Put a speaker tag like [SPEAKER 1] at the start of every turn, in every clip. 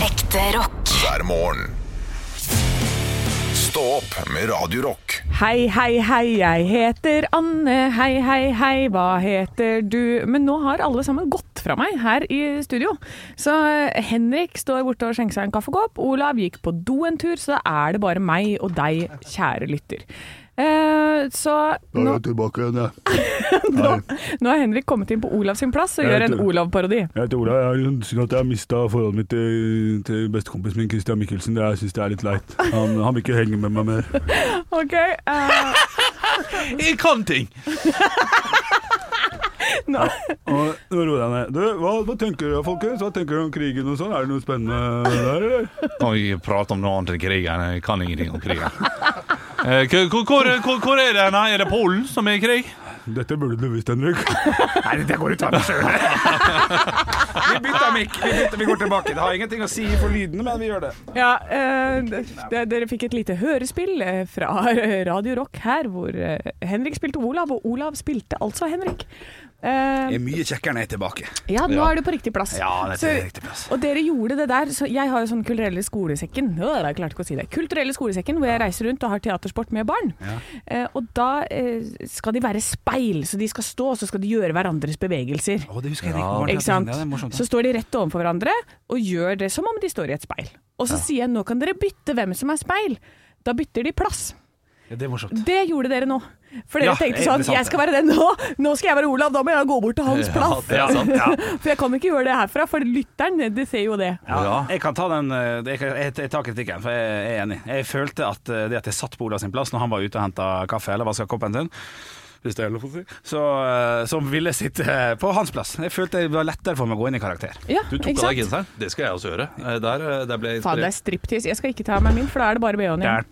[SPEAKER 1] Ekte rock.
[SPEAKER 2] hver morgen. Stå opp med Radio Rock.
[SPEAKER 3] Hei, hei, hei, jeg heter Anne. Hei, hei, hei, hva heter du? Men nå har alle sammen gått fra meg her i studio. Så eh, Henrik står borte og skjenker seg en kaffekopp. Olav gikk på do en tur, så da er det bare meg og deg, kjære lytter. Eh, så
[SPEAKER 4] Da er
[SPEAKER 3] nå,
[SPEAKER 4] jeg tilbake igjen, jeg.
[SPEAKER 3] nå, nå har Henrik kommet inn på Olav sin plass og gjør en Olav-parodi.
[SPEAKER 4] Jeg heter Ola. Jeg er synd at jeg har mista forholdet mitt til, til bestekompisen min, Christian Michelsen. Det- Jeg syns det er litt leit. Han, han vil ikke henge med meg mer.
[SPEAKER 3] Ok, eh,
[SPEAKER 5] Jeg kan ting!
[SPEAKER 4] Og nå roer jeg ned. Du, hva, hva tenker dere, folkens? Hva tenker dere om krigen og sånn? Er det noe spennende der, eller?
[SPEAKER 5] Kan vi ikke prate om noe annet enn krigen? Jeg kan ingenting om krigen. Eh, k- Hvor, hvor, hvor, hvor er det? Nei, er det Polen som er i krig?
[SPEAKER 4] Dette burde du visst, Henrik.
[SPEAKER 6] Nei, dette går ut av meg sjøl. Vi bytter mikk. Vi, bytter, vi går tilbake. Det har ingenting å si for lyden, men vi gjør det.
[SPEAKER 3] ja, eh, d- dere fikk et lite hørespill eh, fra Radio Rock her, hvor eh, Henrik spilte Olav, og Olav spilte altså Henrik. Eh,
[SPEAKER 6] er mye kjekkere når jeg er tilbake.
[SPEAKER 3] Ja, nå er du på riktig plass.
[SPEAKER 6] Ja, dette er riktig plass.
[SPEAKER 3] Og dere gjorde det der. Så jeg har jo sånn Kulturelle skolesekken. Å, jeg klarte ikke å si det. Kulturelle skolesekken, hvor jeg reiser rundt og har teatersport med barn. Eh, og da eh, skal de være speil, så de skal stå, og så skal de gjøre hverandres bevegelser.
[SPEAKER 6] Å, det husker jeg ja,
[SPEAKER 3] Ikke sant? Så står de rett overfor hverandre og gjør det som om de står i et speil. Og så sier jeg nå kan dere bytte hvem som er speil. Da bytter de plass.
[SPEAKER 6] Ja, det er morsomt.
[SPEAKER 3] Det gjorde dere nå. For dere
[SPEAKER 6] Ja,
[SPEAKER 3] tenkte
[SPEAKER 6] det er
[SPEAKER 3] sånn
[SPEAKER 6] sant,
[SPEAKER 3] Jeg skal være den nå! Nå skal jeg være Olav, da må jeg gå bort til hans plass.
[SPEAKER 6] det er sant, ja.
[SPEAKER 3] For jeg kan ikke gjøre det herfra, for lytteren de ser jo det.
[SPEAKER 6] Ja, jeg kan ta den eh, Jeg, kan- jeg, jeg tar kritikken, for jeg er enig. Jeg følte at eh, det at jeg satt på Ola sin plass når han var ute og henta kaffe eller vaska koppen sin hvis det er lov å si, så, eh, så ville jeg sitte eh, på hans plass. Jeg følte det var lettere for meg å gå inn i karakter.
[SPEAKER 3] Ja,
[SPEAKER 5] Du tok
[SPEAKER 3] ikke
[SPEAKER 5] på deg
[SPEAKER 3] sant?
[SPEAKER 5] genseren. Det skal jeg også gjøre. Eh, Der, eh, der ble jeg
[SPEAKER 3] Faen, det er
[SPEAKER 5] inspirert.
[SPEAKER 3] striptease. Jeg skal ikke ta av meg min, for da er det bare BH-en
[SPEAKER 6] Da,
[SPEAKER 3] igjen.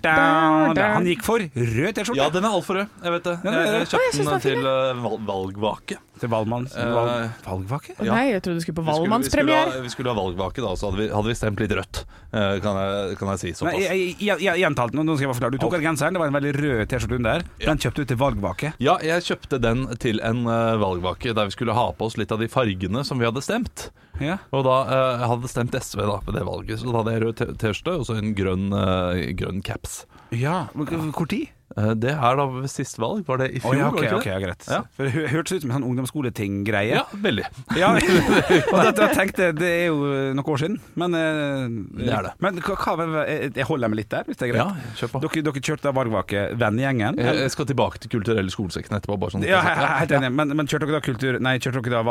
[SPEAKER 6] da, da, da. Han gikk for rød T-skjorte
[SPEAKER 5] Ja, den er altfor rød. Jeg vet det.
[SPEAKER 6] Ja, den er
[SPEAKER 5] Jeg, jeg
[SPEAKER 6] rød.
[SPEAKER 3] Å, jeg synes
[SPEAKER 5] kjøpte
[SPEAKER 3] den var
[SPEAKER 5] den
[SPEAKER 3] fin,
[SPEAKER 5] til eh, val- valgvake.
[SPEAKER 6] til Valmann.
[SPEAKER 5] Eh,
[SPEAKER 6] Valg, valgvake?
[SPEAKER 3] Å
[SPEAKER 5] Ja.
[SPEAKER 3] Nei, jeg trodde du skulle på
[SPEAKER 5] Vi skulle- vi skulle
[SPEAKER 3] Valmannspremiere.
[SPEAKER 5] ha- Vi skulle ha valgvake, da, så hadde vi, hadde vi stemt litt rødt. Eh, Kan jeg, kan jeg si
[SPEAKER 6] Nei,
[SPEAKER 5] såpass.
[SPEAKER 6] jeg- jeg- jeg- Gjenta alt nå, nå skal jeg bare forklare. Du tok av genseren, det var en veldig rød T-skjorte under. Den kjøpte du til valgvake.
[SPEAKER 5] Ja, jeg kjøpte den til en eh, valgvake der vi skulle ha på oss litt av de fargene som vi hadde stemt.
[SPEAKER 6] Ja.
[SPEAKER 5] Og da eh, jeg hadde stemt SV da på det valget, så da hadde jeg rød t- T-skjorte og så en grønn, eh, grønn caps.
[SPEAKER 6] ja. men k- Hvor tid?
[SPEAKER 5] Eh, det er da ved siste valg, var det i
[SPEAKER 6] Å
[SPEAKER 5] fjor?
[SPEAKER 6] ja,
[SPEAKER 5] var
[SPEAKER 6] ok,
[SPEAKER 5] det ikke
[SPEAKER 6] ok,
[SPEAKER 5] det?
[SPEAKER 6] ja, greit.
[SPEAKER 5] Ja.
[SPEAKER 6] For det hø- hørtes ut som en sånn ungdomsskoleting-greie.
[SPEAKER 5] Ja, veldig.
[SPEAKER 6] Ja, og dette jeg tenkte det er jo noen år siden, men eh,
[SPEAKER 5] Det er det.
[SPEAKER 6] Men hva, hva- jeg- jeg holder meg litt der, hvis det er greit.
[SPEAKER 5] Ja, Eh, kjør på.
[SPEAKER 6] Dere, dere kjørte da Vargvake, vennegjengen?
[SPEAKER 5] Jeg, jeg skal tilbake til kulturelle skolesekken etterpå. Bare sånn.
[SPEAKER 6] Ja, jeg jeg er helt enig, men, men kjørte dere da kultur Nei, kjørte dere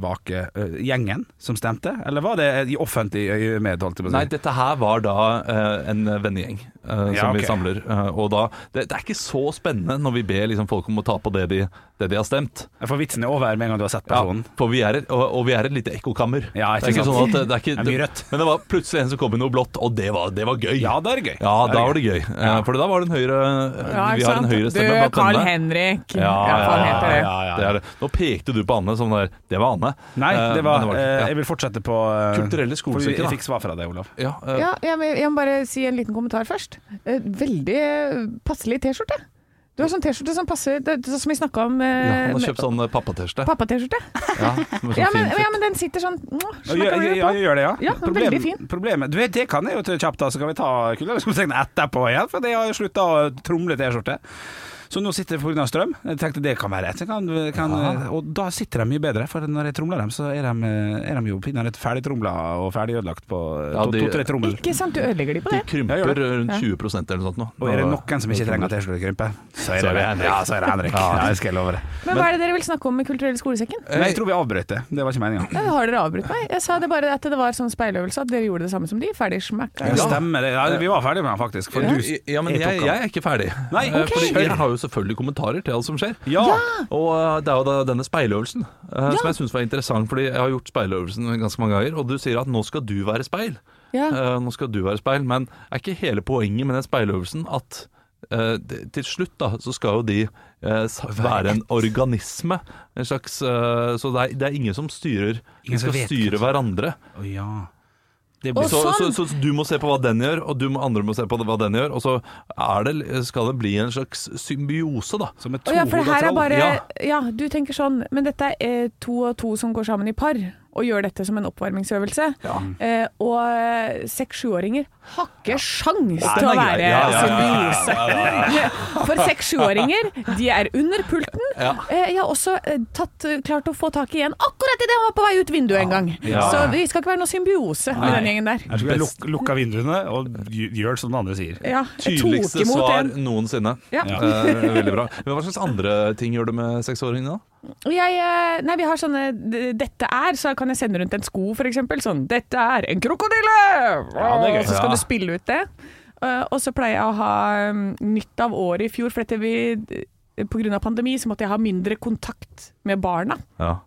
[SPEAKER 6] da valgvake-gjengen som stemte? Eller var det i offentlig øyemed, holdt jeg på å si?
[SPEAKER 5] Nei, dette her var da eh, en vennegjeng eh,
[SPEAKER 6] Ja,
[SPEAKER 5] som
[SPEAKER 6] ok.
[SPEAKER 5] vi samler. eh, og da, det, det er ikke så spennende når vi ber liksom, folk om å ta på det de, det de har stemt.
[SPEAKER 6] For vitsen er over med en gang du har sett personen.
[SPEAKER 5] Ja, for vi er, et- og, og vi er et lite ekkokammer.
[SPEAKER 6] Ja,
[SPEAKER 5] det
[SPEAKER 6] ikke
[SPEAKER 5] er ikke
[SPEAKER 6] sant.
[SPEAKER 5] sånn at det, det er ikke
[SPEAKER 6] Det er mye rødt.
[SPEAKER 5] Men det var plutselig en som kom med noe blått, og det var, det var gøy.
[SPEAKER 6] Ja, da er det gøy.
[SPEAKER 5] Ja,
[SPEAKER 6] Da er
[SPEAKER 5] da var det gøy. Eh, For da var det en høyre
[SPEAKER 3] Ja,
[SPEAKER 5] Vi
[SPEAKER 3] ikke
[SPEAKER 5] har en
[SPEAKER 3] sant?
[SPEAKER 5] høyre stemme
[SPEAKER 3] Du, Carl
[SPEAKER 5] denne.
[SPEAKER 3] Henrik.
[SPEAKER 5] Ja, ja,
[SPEAKER 3] hva han
[SPEAKER 5] ja,
[SPEAKER 3] heter det.
[SPEAKER 5] ja, ja, ja. Det er det. Nå pekte du på Anne som der Det var Anne.
[SPEAKER 6] Nei,
[SPEAKER 5] Eh,
[SPEAKER 6] det var,
[SPEAKER 5] men det
[SPEAKER 6] eh,
[SPEAKER 5] ikke-
[SPEAKER 6] jeg vil fortsette på eh,
[SPEAKER 5] Kulturelle skolesekker,
[SPEAKER 6] for Jeg
[SPEAKER 5] da.
[SPEAKER 6] fikk svar fra deg, Olav.
[SPEAKER 5] ja. Ja, eh,
[SPEAKER 3] Ja, jeg, vil- jeg må bare si en liten kommentar først. Eh, Veldig eh, passelig T-skjorte. Du har sånn T-skjorte som passer det, det, Som vi snakka om
[SPEAKER 5] ja,
[SPEAKER 3] eh,
[SPEAKER 5] han har
[SPEAKER 3] med-
[SPEAKER 5] kjøpt sånn eh, pappa-T-skjorte.
[SPEAKER 3] Pappa-T-skjorte.
[SPEAKER 5] Ja, med sånn
[SPEAKER 3] Ja, men- ja,
[SPEAKER 5] fin fitt.
[SPEAKER 3] men den sitter sånn mwah,
[SPEAKER 6] Ja, ja,
[SPEAKER 3] smakker du
[SPEAKER 6] ja,
[SPEAKER 3] på.
[SPEAKER 6] gjør det, ja.
[SPEAKER 3] Ja, den er veldig fin.
[SPEAKER 6] Problemet, du vet, Det kan jeg jo til kjapt, da, så kan vi ta kulturskolesekken etterpå igjen. For det har jeg slutta å tromle T-skjorte. Så nå sitter jeg pga. strøm. Jeg tenkte det kan være rett. Jeg Kan, kan, eh, Og da sitter de mye bedre, for når jeg tromler dem, så er de, er de jo pinadø ferdigtromla og ferdig ødelagt på
[SPEAKER 5] Ja, de-
[SPEAKER 6] to-tre tromler.
[SPEAKER 3] Ikke sant, du ødelegger de på
[SPEAKER 5] De
[SPEAKER 3] det.
[SPEAKER 5] krymper
[SPEAKER 6] Ja, gjør det.
[SPEAKER 5] rundt 20 eller noe sånt nå.
[SPEAKER 6] Og er det noen som ikke trenger T-skjortekrympe, så
[SPEAKER 5] Så
[SPEAKER 6] er det
[SPEAKER 5] er det
[SPEAKER 6] Henrik.
[SPEAKER 5] Henrik.
[SPEAKER 6] Ja, så er det Henrik. Ja, det skal jeg love deg.
[SPEAKER 3] Men hva er det dere vil snakke om med Kulturell skolesekken?
[SPEAKER 6] Nei, jeg tror vi avbrøt det. Det var ikke meninga.
[SPEAKER 3] Ja, har dere avbrutt meg? Jeg sa det bare at det var sånn speiløvelse, at dere gjorde det samme som de. Ferdig smakk.
[SPEAKER 6] Ja, stemmer det. Ja, vi var ferdige med den, faktisk. For du
[SPEAKER 5] ja, men
[SPEAKER 6] jeg tok
[SPEAKER 5] jeg,
[SPEAKER 6] av.
[SPEAKER 5] jeg er ikke ferdig.
[SPEAKER 6] Nei,
[SPEAKER 5] Eh,
[SPEAKER 6] ok.
[SPEAKER 5] Fordi jeg har jo selvfølgelig kommentarer til alt som skjer.
[SPEAKER 6] Ja!
[SPEAKER 5] Og eh, det er jo da denne speiløvelsen eh, som jeg syns var interessant, fordi jeg har gjort speiløvelsen ganske mange ganger, og du sier at nå skal du være speil.
[SPEAKER 3] Ja.
[SPEAKER 5] Eh, nå skal du være speil, men er ikke hele poenget med den speiløvelsen at eh, det- til slutt da, så skal jo de eh, s- være en organisme, en slags eh, Så det er, det er ingen som styrer.
[SPEAKER 6] Ingen
[SPEAKER 5] De
[SPEAKER 6] som
[SPEAKER 5] skal
[SPEAKER 6] vet.
[SPEAKER 5] styre hverandre.
[SPEAKER 6] Å, ja. Det
[SPEAKER 3] Og
[SPEAKER 6] blir
[SPEAKER 5] Så,
[SPEAKER 3] sånn!
[SPEAKER 5] så, så du må se på hva den gjør, og du må, andre må se på hva den gjør. Og så er det, skal det bli en slags symbiose, da.
[SPEAKER 6] som et
[SPEAKER 3] Å ja, for det her er
[SPEAKER 6] troll.
[SPEAKER 3] bare
[SPEAKER 5] Ja.
[SPEAKER 3] Ja, du tenker sånn, men dette er eh, to og to som går sammen i par. og gjør dette som en oppvarmingsøvelse. Eh, og seks-sjuåringer har ikke sjans
[SPEAKER 5] Nei,
[SPEAKER 3] til å
[SPEAKER 5] nei,
[SPEAKER 3] være
[SPEAKER 5] ja, ja, ja, ja,
[SPEAKER 3] altså, lyse. For seks-sjuåringer, de er under pulten.
[SPEAKER 5] Ja.
[SPEAKER 3] Eh, jeg har også eh, tatt, eh, klart å få tak i en akkurat idet han var på vei ut vinduet en gang.
[SPEAKER 5] Ja.
[SPEAKER 3] Så vi skal ikke være noe symbiose med den gjengen der.
[SPEAKER 6] Jeg skulle luk lukka vinduene og gj- gjør som den andre sier.
[SPEAKER 3] Ja, jeg tok
[SPEAKER 5] Tydeligste
[SPEAKER 3] imot
[SPEAKER 5] svar
[SPEAKER 3] en.
[SPEAKER 5] noensinne.
[SPEAKER 3] Ja.
[SPEAKER 5] Eh, veldig bra. Men hva slags andre ting gjør du med seksåringene, da?
[SPEAKER 3] Og Jeg, eh, nei, vi har sånne d- 'dette er', så kan jeg sende rundt en sko for eksempel. Sånn 'dette er en krokodille'!
[SPEAKER 6] Ja, det er gøy.
[SPEAKER 3] Og så skal
[SPEAKER 5] Ja.
[SPEAKER 3] du spille ut det. Eh, Og så pleier jeg å ha um, nytt av året i fjor, for dette vi pga. pandemi så måtte jeg ha mindre kontakt med barna.
[SPEAKER 5] Ja.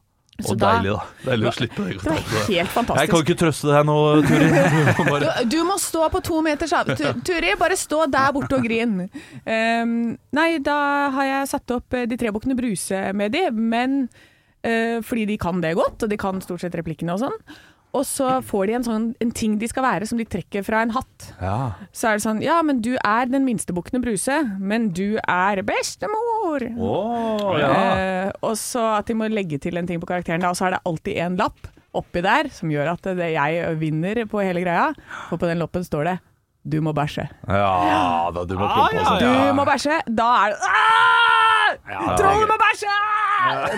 [SPEAKER 3] Så
[SPEAKER 5] Og
[SPEAKER 3] da-
[SPEAKER 5] deilig, da. Deilig å slippe det.
[SPEAKER 3] Det var helt
[SPEAKER 5] Jeg kan
[SPEAKER 3] fantastisk.
[SPEAKER 5] ikke trøste deg nå, Turi. Du må
[SPEAKER 3] Du,
[SPEAKER 5] bare-
[SPEAKER 3] du må stå på to meters avstand. Turi, bare stå der borte og grin. Ehm, nei, da har jeg satt opp eh, De tre bukkene Bruse med de, men eh, fordi de kan det godt, og de kan stort sett replikkene og sånn. Og så får de en, sånn, en ting de skal være, som de trekker fra en hatt.
[SPEAKER 5] Ja.
[SPEAKER 3] Så er det sånn Ja, men du er den minste bukken Bruse, men du er bestemor.
[SPEAKER 5] Å,
[SPEAKER 6] Ah.
[SPEAKER 5] ja.
[SPEAKER 3] Eh, og så at de må legge til en ting på karakteren, da, og så er det alltid en lapp oppi der som gjør at det, jeg vinner på hele greia. Og på den loppen står det 'du må bæsje'.
[SPEAKER 5] ja da, du må
[SPEAKER 6] Ah,
[SPEAKER 5] prøve på
[SPEAKER 6] ja,
[SPEAKER 5] sånn.
[SPEAKER 3] Du
[SPEAKER 6] ja.
[SPEAKER 3] må bæsje! Da er det «Ah!
[SPEAKER 6] Ja,
[SPEAKER 3] Troll
[SPEAKER 6] det er
[SPEAKER 3] må bæsje!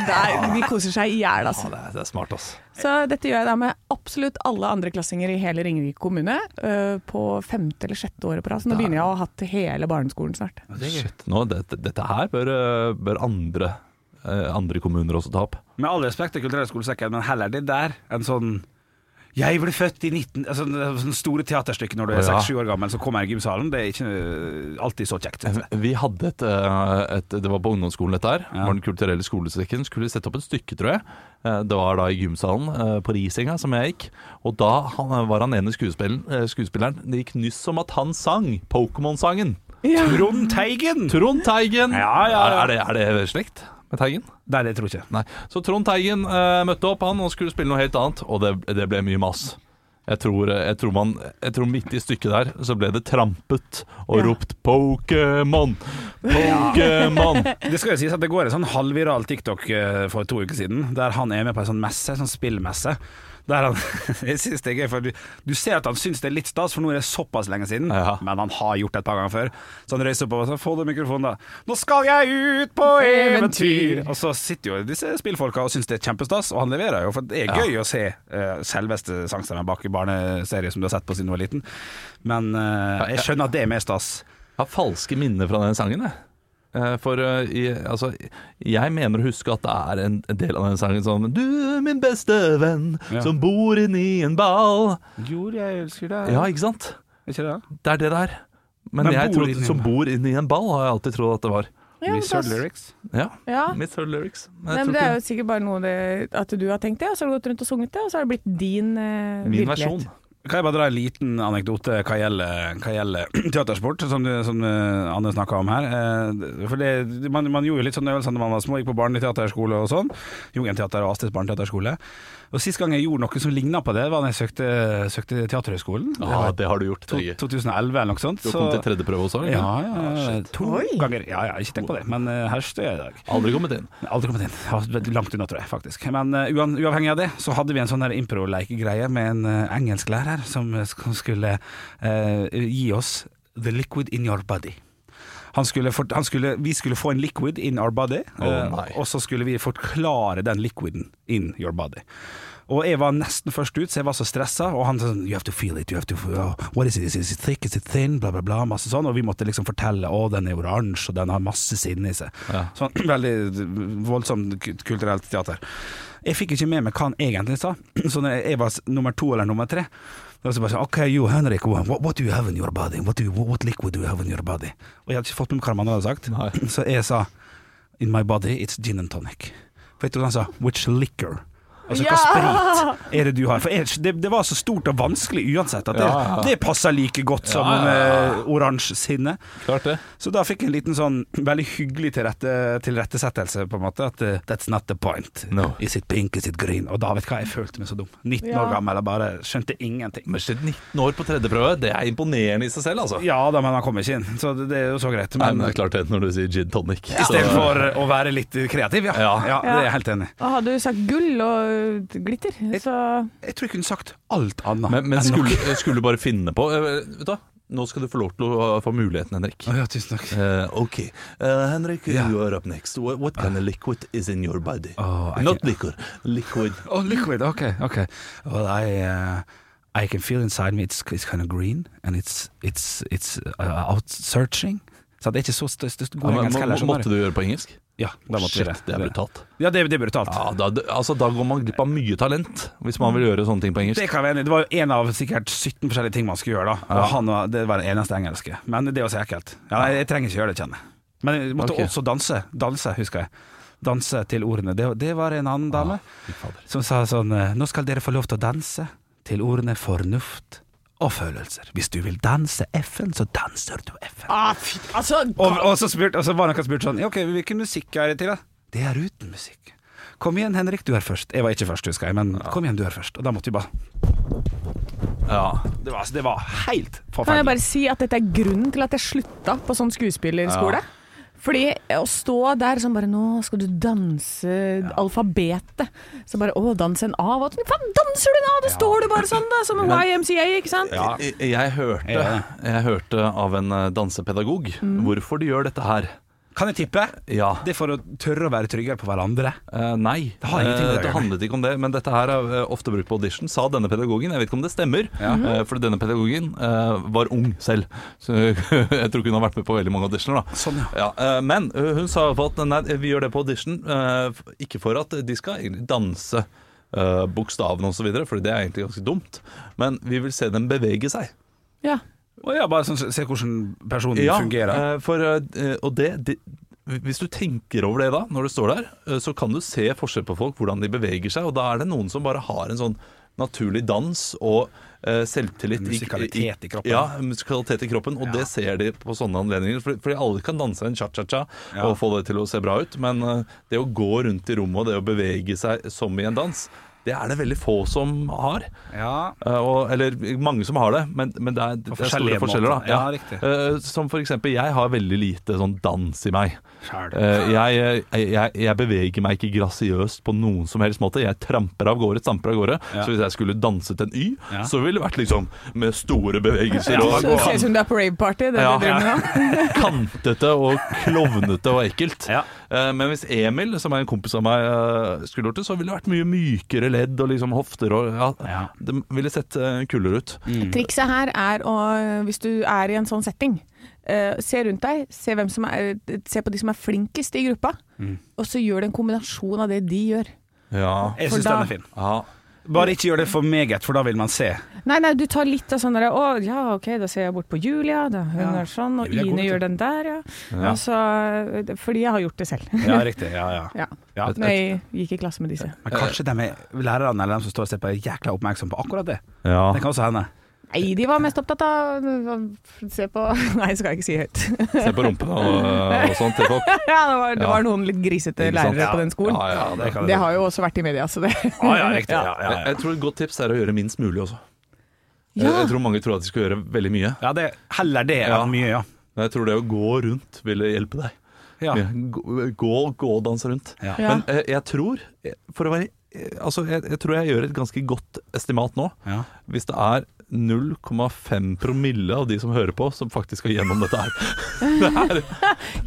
[SPEAKER 3] Der, de koser seg i hjel, altså.
[SPEAKER 5] Ja, det, er, det er smart, ass.
[SPEAKER 3] Så dette gjør jeg da med absolutt alle andreklassinger i hele Ringerike kommune eh, på femte eller sjette året på rad. Så nå begynner jeg å ha hatt hele barneskolen snart.
[SPEAKER 5] Shit, nå, dette, dette her bør, eh, bør andre, eh, andre kommuner også ta opp.
[SPEAKER 6] Med all respekt til kulturelle skolesekken, men heller det der enn sånn jeg ble født i 19... Altså, sånne store teaterstykker når du er
[SPEAKER 5] Ja.
[SPEAKER 6] seks-sju år gammel, så kommer jeg i gymsalen. Det er ikke øh, alltid så kjekt. synes jeg.
[SPEAKER 5] Vi hadde et, eh, et Det var på ungdomsskolen dette her. Var den kulturelle skolesekken. Skulle sette opp et stykke, tror jeg. Eh, Det var da i gymsalen eh, på Risenga som jeg gikk. Og da han- var han ene skuespilleren, eh, skuespilleren Det gikk nyss om at han sang Pokémon-sangen.
[SPEAKER 6] Trond Teigen!
[SPEAKER 5] Trond Teigen!
[SPEAKER 6] Ja, ja, ja.
[SPEAKER 5] Er, er, det, er det slekt med Teigen?
[SPEAKER 6] Nei, det tror jeg ikke.
[SPEAKER 5] Nei. Så Trond Teigen eh, møtte opp, han, og skulle spille noe helt annet. Og det, det ble mye mas. Jeg tror, eh, jeg, tror man, jeg tror midt i stykket der så ble det trampet og
[SPEAKER 3] Ja.
[SPEAKER 5] ropt 'Pokémon! Pokémon!'
[SPEAKER 6] Det skal jo sies at det går en sånn halvviral TikTok eh, for to uker siden, der han er med på en sånn messe, sånn spillmesse. Der han, jeg synes det er gøy, for du, du ser at han syns det er litt stas, for nå er det såpass lenge siden.
[SPEAKER 5] Ja.
[SPEAKER 6] Men han har gjort det et par ganger før. Så han reiser opp og sier 'få du mikrofonen', da. 'Nå skal jeg ut på eventyr'. Og så sitter jo disse spillfolka og syns det er kjempestas, og han leverer jo. For det er gøy å se eh, selveste sangstemmen bak i barneserie som du har sett på siden du var liten. Men eh, jeg skjønner at det er mer stas.
[SPEAKER 5] Jeg har falske minner fra den sangen, jeg. Eh, For eh, i, altså, jeg mener å huske at det er en en del av den sangen som Du er min beste venn som bor inni en ball.
[SPEAKER 6] Jord, jeg elsker deg.
[SPEAKER 5] Ja, ikke sant?
[SPEAKER 6] Ikke det?
[SPEAKER 5] Det er det der. Men,
[SPEAKER 6] Men
[SPEAKER 5] jeg
[SPEAKER 6] bor inni
[SPEAKER 5] trodde,
[SPEAKER 6] en
[SPEAKER 5] som
[SPEAKER 6] ball.
[SPEAKER 5] bor inni en ball, har jeg alltid trodd at det var.
[SPEAKER 3] Ja, men da-
[SPEAKER 6] lyrics.
[SPEAKER 5] Ja.
[SPEAKER 3] ja.
[SPEAKER 5] Mitt third lyrics. Men
[SPEAKER 3] Nei, Ah.
[SPEAKER 5] jeg
[SPEAKER 3] men
[SPEAKER 5] tror
[SPEAKER 3] det er
[SPEAKER 5] ikke
[SPEAKER 3] jo sikkert bare noe det, at du har tenkt det, og så har du gått rundt og sunget det, og så har det blitt din eh,
[SPEAKER 5] min
[SPEAKER 3] virkelighet.
[SPEAKER 5] versjon.
[SPEAKER 6] Kan jeg bare dra en liten anekdote hva gjelder, hva gjelder teatersport, som, du- som eh, Anne snakka om her. Eh, For det, man, man gjorde jo litt sånne øvelser da man var små, gikk på barneteaterskole og sånn. Jungenteater og Astrids barneteaterskole. Og Sist gang jeg gjorde noe som ligna på det, var da jeg søkte, søkte Teaterhøgskolen. Det
[SPEAKER 5] Ja,
[SPEAKER 6] var
[SPEAKER 5] det har du gjort.
[SPEAKER 6] to-
[SPEAKER 5] Torgeir.
[SPEAKER 6] 2011 eller noe sånt.
[SPEAKER 5] Du har kommet til Ah, tredje prøve også? eller?
[SPEAKER 6] ja, ja, ja, to
[SPEAKER 3] Oi.
[SPEAKER 6] ganger. Ja, ja, ikke tenk på det, men eh, her står jeg i dag.
[SPEAKER 5] Aldri kommet inn.
[SPEAKER 6] Aldri kommet inn. Ja, Langt unna, tror jeg, faktisk. Men eh, uan, uavhengig av det, så hadde vi en sånn der impro-leikegreie med en eh, engelsklærer som eh, sk- skulle eh, gi oss the liquid in your body. Han skulle fort- han skulle, vi skulle få en liquid in our body,
[SPEAKER 5] Å,
[SPEAKER 6] eh,
[SPEAKER 5] nei.
[SPEAKER 6] og så skulle vi forklare den liquiden in your body. Og jeg var nesten først ut, så jeg var så stressa. Og han sånn You have to feel it. You have to feel, oh, What is it? Is it thick? Is it thin? Bla, bla, bla. Masse sånn. Og vi måtte liksom fortelle Å, den er oransje, og den har masse sinn i seg.
[SPEAKER 5] Ja.
[SPEAKER 6] Sånn veldig voldsomt ku- kulturelt teater. Jeg fikk ikke med meg hva han egentlig sa, så når jeg var s- nummer to eller nummer tre da var det bare sånn, ok, you Henrik, what, what do you have in your body? What, do you, what liquid do you have in your body? Og jeg hadde ikke fått med meg hva han hadde sagt,
[SPEAKER 5] Nei.
[SPEAKER 6] så jeg sa In my body, it's gin and tonic. For jeg trodde han sa which liquor? Altså hva sprit er det du har? For jeg, det, det var så stort og vanskelig uansett at det,
[SPEAKER 5] Ja, ja.
[SPEAKER 6] det passer like godt som
[SPEAKER 5] Ja, ja,
[SPEAKER 6] eh, oransje sinne.
[SPEAKER 5] Klart det.
[SPEAKER 6] Så da fikk jeg en liten sånn veldig hyggelig tilrette, tilrettesettelse, på en måte. At eh, that's not the point.
[SPEAKER 5] No.
[SPEAKER 6] Is it pink, is it green? Og da vet du hva, jeg følte meg så dum. 19
[SPEAKER 3] Ja.
[SPEAKER 6] år gammel og bare skjønte ingenting.
[SPEAKER 5] Men shit, 19 år på tredje prøve, det er imponerende i seg selv, altså.
[SPEAKER 6] Ja da, men han kom ikke inn, så det, det er jo så greit.
[SPEAKER 5] Nei,
[SPEAKER 6] Men,
[SPEAKER 5] men det er klart det når du sier gin tonic.
[SPEAKER 6] istedenfor å være litt kreativ, ja.
[SPEAKER 5] Ja.
[SPEAKER 6] ja. Det er jeg helt enig i.
[SPEAKER 3] Og hadde du sagt gull og glitter. Så
[SPEAKER 6] Jeg tror jeg kunne sagt alt annet.
[SPEAKER 5] Men,
[SPEAKER 6] enn
[SPEAKER 5] men
[SPEAKER 6] nok.
[SPEAKER 5] skulle, skulle du bare finne på eh, Vet du hva, nå skal du få lov til å få muligheten, Henrik.
[SPEAKER 6] Å ja, tusen takk.
[SPEAKER 5] Eh, ok, Eh, Henrik,
[SPEAKER 6] Ja.
[SPEAKER 5] you are up next. What, what kind of liquid is in your body?
[SPEAKER 6] Oh, I
[SPEAKER 5] Not liquor, liquid.
[SPEAKER 6] Oh, liquid. Okay, okay. Well, I uh, I can feel inside me. It's it's kind of green, and it's it's it's uh, out searching. Så det er ikke så st st god
[SPEAKER 5] Ja, men,
[SPEAKER 6] engelsk
[SPEAKER 5] må,
[SPEAKER 6] heller.
[SPEAKER 5] må,
[SPEAKER 6] skjønner
[SPEAKER 5] måtte du gjøre på engelsk?
[SPEAKER 6] Ja, da måtte vi
[SPEAKER 5] Shit, det er brutalt.
[SPEAKER 6] Ja, det, det er brutalt.
[SPEAKER 5] Ja, da, altså, da går man glipp av mye talent hvis man vil gjøre sånne ting på
[SPEAKER 6] Det
[SPEAKER 5] engelsk.
[SPEAKER 6] kan jeg være enig i. Det var jo en av sikkert 17 forskjellige ting man skulle gjøre, da. Og han var, det var den eneste engelske. Men det er også ekkelt. Ja, nei, jeg trenger ikke gjøre det, kjenner jeg. Men jeg måtte
[SPEAKER 5] Ok.
[SPEAKER 6] også danse. Danse, husker jeg. Danse til ordene. Det, det var en annen dame som sa sånn eh, Nå skal dere få lov til å danse til ordene fornuft og følelser. Hvis du vil danse FN, så danser du FN.
[SPEAKER 3] ah, fy, Altså,
[SPEAKER 6] Og, og, så, spurt, og så var det noen som spurte sånn «Ja, Ok, hvilken musikk er det til, da? Det er uten musikk. Kom igjen, Henrik, du er først. Jeg var ikke først, husker jeg, men kom igjen, du er først. Og da måtte vi bare
[SPEAKER 5] Ja.
[SPEAKER 6] det var, altså, det var helt
[SPEAKER 3] Kan
[SPEAKER 6] forferdelig.
[SPEAKER 3] jeg bare si at dette er grunnen til at jeg slutta på sånn skuespillerskole? Fordi å stå der sånn bare Nå skal du danse alfabetet. Så bare Å, dans en A. Hva faen danser du en A?! Da står du bare sånn, da, som en YMCA, ikke sant?
[SPEAKER 5] Jeg, jeg, hørte,
[SPEAKER 6] Ja.
[SPEAKER 5] jeg hørte av en eh, dansepedagog hvorfor de gjør dette her.
[SPEAKER 6] Kan jeg tippe?
[SPEAKER 5] Mm. Ja.
[SPEAKER 6] Det er for å tørre å være tryggere på hverandre.
[SPEAKER 5] Eh, nei,
[SPEAKER 6] Det har ingenting med
[SPEAKER 5] Eh,
[SPEAKER 6] det å
[SPEAKER 5] det
[SPEAKER 6] gjøre.
[SPEAKER 5] handlet ikke om det. Men dette her er eh, ofte brukt på audition, sa denne pedagogen. Jeg vet ikke om det stemmer, eh, for denne pedagogen eh, var ung selv. Så jeg tror ikke hun har vært med på veldig mange auditioner. da
[SPEAKER 6] Sånn, ja.
[SPEAKER 5] eh, Men eh, hun sa i hvert fall at nei, vi gjør det på audition, eh, f- ikke for at de skal egentlig danse eh, bokstavene osv., for det er egentlig ganske dumt, men vi vil se dem bevege seg.
[SPEAKER 3] Ja.
[SPEAKER 6] Og ja, bare sånn, se hvordan personen fungerer.
[SPEAKER 5] eh, For, eh, og det, det hvis du tenker over det da, når du står der, eh, så kan du se forskjell på folk, hvordan de beveger seg, og da er det noen som bare har en sånn naturlig dans og eh, selvtillit. i-
[SPEAKER 6] Musikalitet i kroppen.
[SPEAKER 5] Ja, musikalitet i kroppen, og det ser de på sånne anledninger. for- Fordi alle kan danse en cha-cha-cha og få det til å se bra ut, men eh, det å gå rundt i rommet og det å bevege seg som i en dans, det er det veldig få som har.
[SPEAKER 6] Ja.
[SPEAKER 5] Eh, Og, eller mange som har det, men, men det er, det er
[SPEAKER 6] forskjellige
[SPEAKER 5] store forskjeller.
[SPEAKER 6] måter.
[SPEAKER 5] Da.
[SPEAKER 6] Ja, riktig.
[SPEAKER 5] Eh, som for eksempel, jeg har veldig lite sånn dans i meg.
[SPEAKER 6] Sjæl.
[SPEAKER 5] Eh, jeg, eh, jeg, jeg beveger meg ikke grasiøst på noen som helst måte. Jeg tramper av gårde, stamper av gårde.
[SPEAKER 6] Ja.
[SPEAKER 5] Så hvis jeg skulle danset en Y,
[SPEAKER 6] Ja.
[SPEAKER 5] så ville det vært liksom med store bevegelser
[SPEAKER 3] Så
[SPEAKER 5] og
[SPEAKER 3] det ser ut som du er på raveparty. Det er
[SPEAKER 5] Ja.
[SPEAKER 3] det du driver med nå.
[SPEAKER 5] kantete og klovnete og ekkelt.
[SPEAKER 6] Ja.
[SPEAKER 5] Eh, Men hvis Emil, som er en kompis av meg, eh, skulle gjort det, så ville det vært mye mykere ledd og liksom hofter og ja,
[SPEAKER 6] Ja.
[SPEAKER 5] Det ville sett eh, kulere ut.
[SPEAKER 3] Trikset her er å, hvis du er i en sånn setting, eh, se rundt deg, se, hvem som er, eh, se på de som er flinkest i gruppa,
[SPEAKER 5] Mm.
[SPEAKER 3] og så gjør du en kombinasjon av det de gjør.
[SPEAKER 5] Ja.
[SPEAKER 6] Jeg
[SPEAKER 3] for
[SPEAKER 6] syns
[SPEAKER 3] da-
[SPEAKER 6] den er fin.
[SPEAKER 5] ja.
[SPEAKER 6] Bare ikke gjør det for meget, for da vil man se.
[SPEAKER 3] Nei, nei, du tar litt av sånn derre Å ja, ok, da ser jeg bort på Julia, da hun
[SPEAKER 6] Ja.
[SPEAKER 3] er sånn, og
[SPEAKER 6] Det vil jeg gå
[SPEAKER 3] Ine
[SPEAKER 6] til.
[SPEAKER 3] gjør den der, ja. Altså, fordi jeg har gjort det selv.
[SPEAKER 6] Ja, riktig. Ja, ja.
[SPEAKER 3] Ja.
[SPEAKER 6] Ja.
[SPEAKER 3] Når jeg gikk i klasse med disse.
[SPEAKER 6] Men kanskje de er lærerne eller de som står og ser på, er jækla oppmerksom på akkurat det.
[SPEAKER 5] Ja.
[SPEAKER 6] Det kan også hende.
[SPEAKER 3] Nei, de var mest opptatt av å se på Nei, skal jeg ikke si høyt.
[SPEAKER 5] Se på rumpene og, og sånt til folk.
[SPEAKER 3] ja, det var, det
[SPEAKER 5] Ja.
[SPEAKER 3] var noen litt grisete
[SPEAKER 5] Ikke sant?
[SPEAKER 3] lærere på den skolen.
[SPEAKER 5] Ja, ja, det.
[SPEAKER 6] kan
[SPEAKER 3] Det har jo også vært i media, så det
[SPEAKER 6] ah, ja, riktig. Ja, ja,
[SPEAKER 5] Jeg,
[SPEAKER 6] ja.
[SPEAKER 5] jeg tror et godt tips er å gjøre minst mulig også. Jeg,
[SPEAKER 3] Ja.
[SPEAKER 5] jeg tror mange tror at de skal gjøre veldig mye,
[SPEAKER 6] ja det, heller det enn
[SPEAKER 5] Ja.
[SPEAKER 6] mye, ja.
[SPEAKER 5] men jeg tror det å gå rundt ville hjelpe deg.
[SPEAKER 6] ja.
[SPEAKER 5] Gå, gå, gå og danse rundt.
[SPEAKER 6] Ja.
[SPEAKER 3] Ja.
[SPEAKER 5] Men eh, jeg tror, eh, for å være eh, Altså, jeg, jeg tror jeg gjør et ganske godt estimat nå.
[SPEAKER 6] Ja.
[SPEAKER 5] Hvis det er 0,5 promille av de som hører på, som faktisk skal gjennom dette her.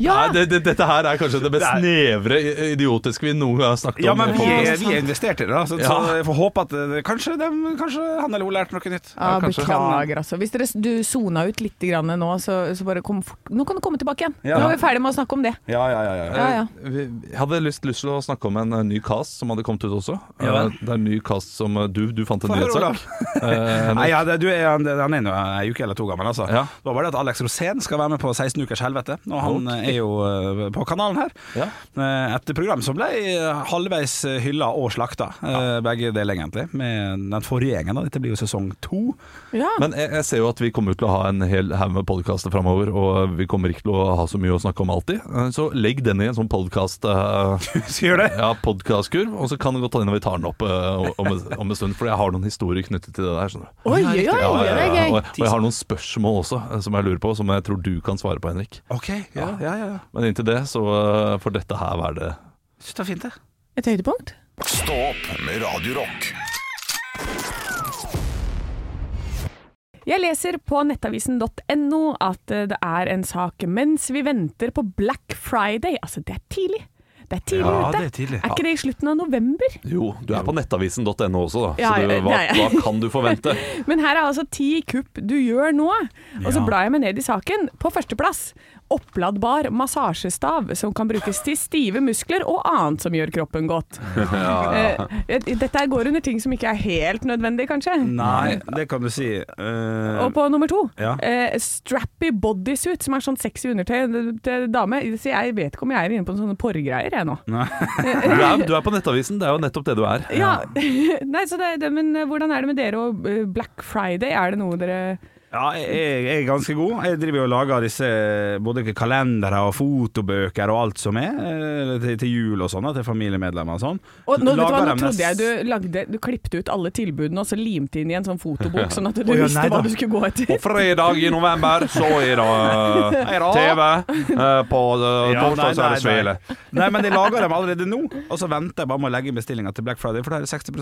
[SPEAKER 3] Ja!
[SPEAKER 5] Nei, det, det, dette her er kanskje det mest
[SPEAKER 6] Det
[SPEAKER 5] snevre idiotiske vi noen gang har snakket
[SPEAKER 6] Ja,
[SPEAKER 5] om.
[SPEAKER 6] men vi
[SPEAKER 5] Folk-
[SPEAKER 6] er, vi er investert i det, da, så,
[SPEAKER 5] Ja.
[SPEAKER 6] så jeg får håpe at eh, kanskje, dem, kanskje han eller hun lærte noe nytt.
[SPEAKER 3] Ja,
[SPEAKER 5] kanskje.
[SPEAKER 3] beklager, altså. Hvis dere, du sona ut litt grann nå, så, så bare kom fort. Nå kan du komme tilbake igjen.
[SPEAKER 6] Ja.
[SPEAKER 3] Nå er vi ferdig med å snakke om det.
[SPEAKER 6] Ja, ja, ja, ja.
[SPEAKER 3] Ja, ja.
[SPEAKER 5] Eh, vi- Jeg hadde lyst, lyst til å snakke om en eh, ny cast som hadde kommet ut også.
[SPEAKER 6] Ja vel.
[SPEAKER 5] Eh, Det er en ny cast som eh, du, du fant en
[SPEAKER 6] Få høre,
[SPEAKER 5] nyhetssak. Eh,
[SPEAKER 6] Nei, ja, det, du er, han, han er nå en uke eller to gammel, altså.
[SPEAKER 5] Ja.
[SPEAKER 6] Det var bare det at Alex Rosén skal være med på 16 ukers helvete, og han
[SPEAKER 5] Ok.
[SPEAKER 6] eh, er jo eh, på kanalen her.
[SPEAKER 5] ja.
[SPEAKER 6] Eh, Et program som ble eh, halvveis hylla og slakta, eh, begge deler egentlig, med den forrige gjengen. da. Dette blir jo sesong to.
[SPEAKER 3] Ja.
[SPEAKER 5] Men jeg, jeg ser jo at vi kommer til å ha en hel haug med podkaster framover, og eh, vi kommer ikke til å ha så mye å snakke om alltid. Eh, Så legg den i en sånn podkast eh,
[SPEAKER 6] Skal gjøre det?
[SPEAKER 5] ja, podcastkurv, og så kan det godt hende vi tar den opp eh, om, en- om en stund. For jeg har noen historier knyttet til det der. skjønner du
[SPEAKER 3] Oi, oi, oi,
[SPEAKER 5] Ja,
[SPEAKER 3] det er
[SPEAKER 5] ja, ja.
[SPEAKER 3] gøy.
[SPEAKER 5] Og, og jeg har noen spørsmål også eh, som jeg lurer på, som jeg tror du kan svare på, Henrik.
[SPEAKER 6] Ok, ja, ja, ja. ja.
[SPEAKER 5] Men inntil det så eh, får dette her være det
[SPEAKER 6] Synes det er fint, det.
[SPEAKER 3] Et høydepunkt?
[SPEAKER 2] Stå opp med Radio Rock.
[SPEAKER 3] Jeg leser på nettavisen.no at eh, det er en sak mens vi venter på Black Friday. Altså, det er tidlig. Det er tidlig
[SPEAKER 6] Ja,
[SPEAKER 3] ute.
[SPEAKER 6] det er tidlig.
[SPEAKER 3] er ikke det i slutten av november?
[SPEAKER 5] Jo, du er på nettavisen.no også, da.
[SPEAKER 3] Ja,
[SPEAKER 5] så du,
[SPEAKER 3] jeg-
[SPEAKER 5] hva,
[SPEAKER 3] det er jeg.
[SPEAKER 5] hva kan du forvente?
[SPEAKER 3] Men her er altså ti kupp du gjør nå. Og så
[SPEAKER 6] Ja.
[SPEAKER 3] blar jeg meg ned i saken. På førsteplass oppladbar massasjestav som kan brukes til stive muskler og annet som gjør kroppen godt. Eh, Dette her går under ting som ikke er helt nødvendig, kanskje.
[SPEAKER 6] Nei, det kan du si. Eh,
[SPEAKER 3] Og på nummer to,
[SPEAKER 6] Ja.
[SPEAKER 3] eh, strappy bodysuit, som er sånn sexy undertøy til dame. Så jeg vet ikke om jeg er inne på sånne porrgreier, jeg nå.
[SPEAKER 6] nei.
[SPEAKER 5] Du er, du er på Nettavisen, det er jo nettopp det du er.
[SPEAKER 3] Ja, nei, så det, det, Men eh, hvordan er det med dere og eh, Black Friday? Er det noe dere
[SPEAKER 6] Ja, jeg, jeg er ganske god. Jeg driver jo og lager disse både kalendere og fotobøker og alt som er, eh, til, til jul og sånn, da, til familiemedlemmer og sånn.
[SPEAKER 3] og nå, vet du hva,
[SPEAKER 6] Lager
[SPEAKER 3] nå
[SPEAKER 6] dem
[SPEAKER 3] trodde jeg
[SPEAKER 6] nest-
[SPEAKER 3] du lagde Du klippte ut alle tilbudene og så limte inn i en sånn fotobok, sånn at du
[SPEAKER 6] Å ja,
[SPEAKER 3] visste
[SPEAKER 6] nei da.
[SPEAKER 3] hva du skulle gå etter.
[SPEAKER 5] På fredag i november så er det eh, TV. eh, På eh,
[SPEAKER 6] Ja, nei,
[SPEAKER 5] torsdag så er
[SPEAKER 6] nei,
[SPEAKER 5] det svele.
[SPEAKER 6] nei. nei, men de lager dem allerede nå, og så venter jeg bare med å legge inn bestillinga til Black Friday, for der er det 60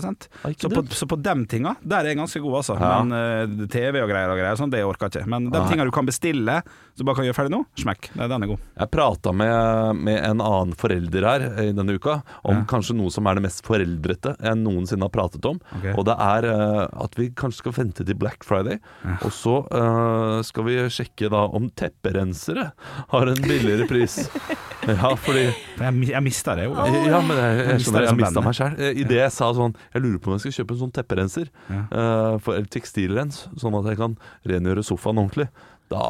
[SPEAKER 6] Så på, så på dem tinga, der er jeg ganske god, altså.
[SPEAKER 5] Ja.
[SPEAKER 6] Men eh, TV og greier og greier, sånn, det orker jeg ikke. Men de
[SPEAKER 5] Nei.
[SPEAKER 6] tinga du kan bestille, så bare kan gjøre ferdig nå, smekk. Nei, den er god.
[SPEAKER 5] Jeg prata med, med en annen forelder her eh, i denne uka om kanskje noe som er det mest foreldrete jeg noensinne har pratet om.
[SPEAKER 6] Ok.
[SPEAKER 5] Og det er eh, at vi kanskje skal vente til Black Friday, og så eh, skal vi sjekke da om tepperensere har en billigere pris. ja, fordi
[SPEAKER 6] For jeg, mi- jeg mista det jo.
[SPEAKER 5] Ja, men jeg, jeg
[SPEAKER 6] mistet
[SPEAKER 5] skjønner,
[SPEAKER 6] det
[SPEAKER 5] jeg
[SPEAKER 6] som
[SPEAKER 5] mista
[SPEAKER 6] bandet.
[SPEAKER 5] meg sjøl. Idet jeg sa sånn Jeg lurer på om jeg skal kjøpe en sånn tepperenser, eh, for, eller tekstilrens, sånn at jeg kan rengjøre sofaen ordentlig. Da,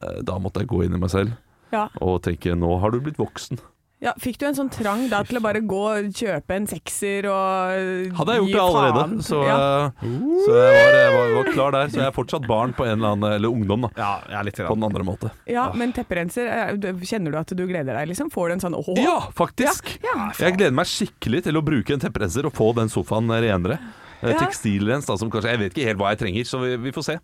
[SPEAKER 5] eh, da måtte jeg gå inn i meg selv
[SPEAKER 3] Ja.
[SPEAKER 5] og tenke nå har du blitt voksen.
[SPEAKER 3] ja, Fikk du en sånn trang da til å bare gå og kjøpe en sekser og
[SPEAKER 5] Hadde jeg gjort
[SPEAKER 3] gi
[SPEAKER 5] det
[SPEAKER 3] faen?
[SPEAKER 5] allerede, så, eh, så jeg, var, jeg var, var klar der. Så jeg er fortsatt barn på en eller annen Eller ungdom, da.
[SPEAKER 6] Ja, jeg er litt
[SPEAKER 5] På den andre måte.
[SPEAKER 3] Ja, men tepperenser, eh, du- kjenner du at du gleder deg, liksom? Får du en sånn åh?
[SPEAKER 5] Ja, faktisk!
[SPEAKER 3] Ja,
[SPEAKER 5] Jeg gleder meg skikkelig til å bruke en tepperenser og få den sofaen renere. Eh,
[SPEAKER 3] Ja.
[SPEAKER 5] Tekstilrens, da, som kanskje Jeg vet ikke helt hva jeg trenger, så vi, vi får se.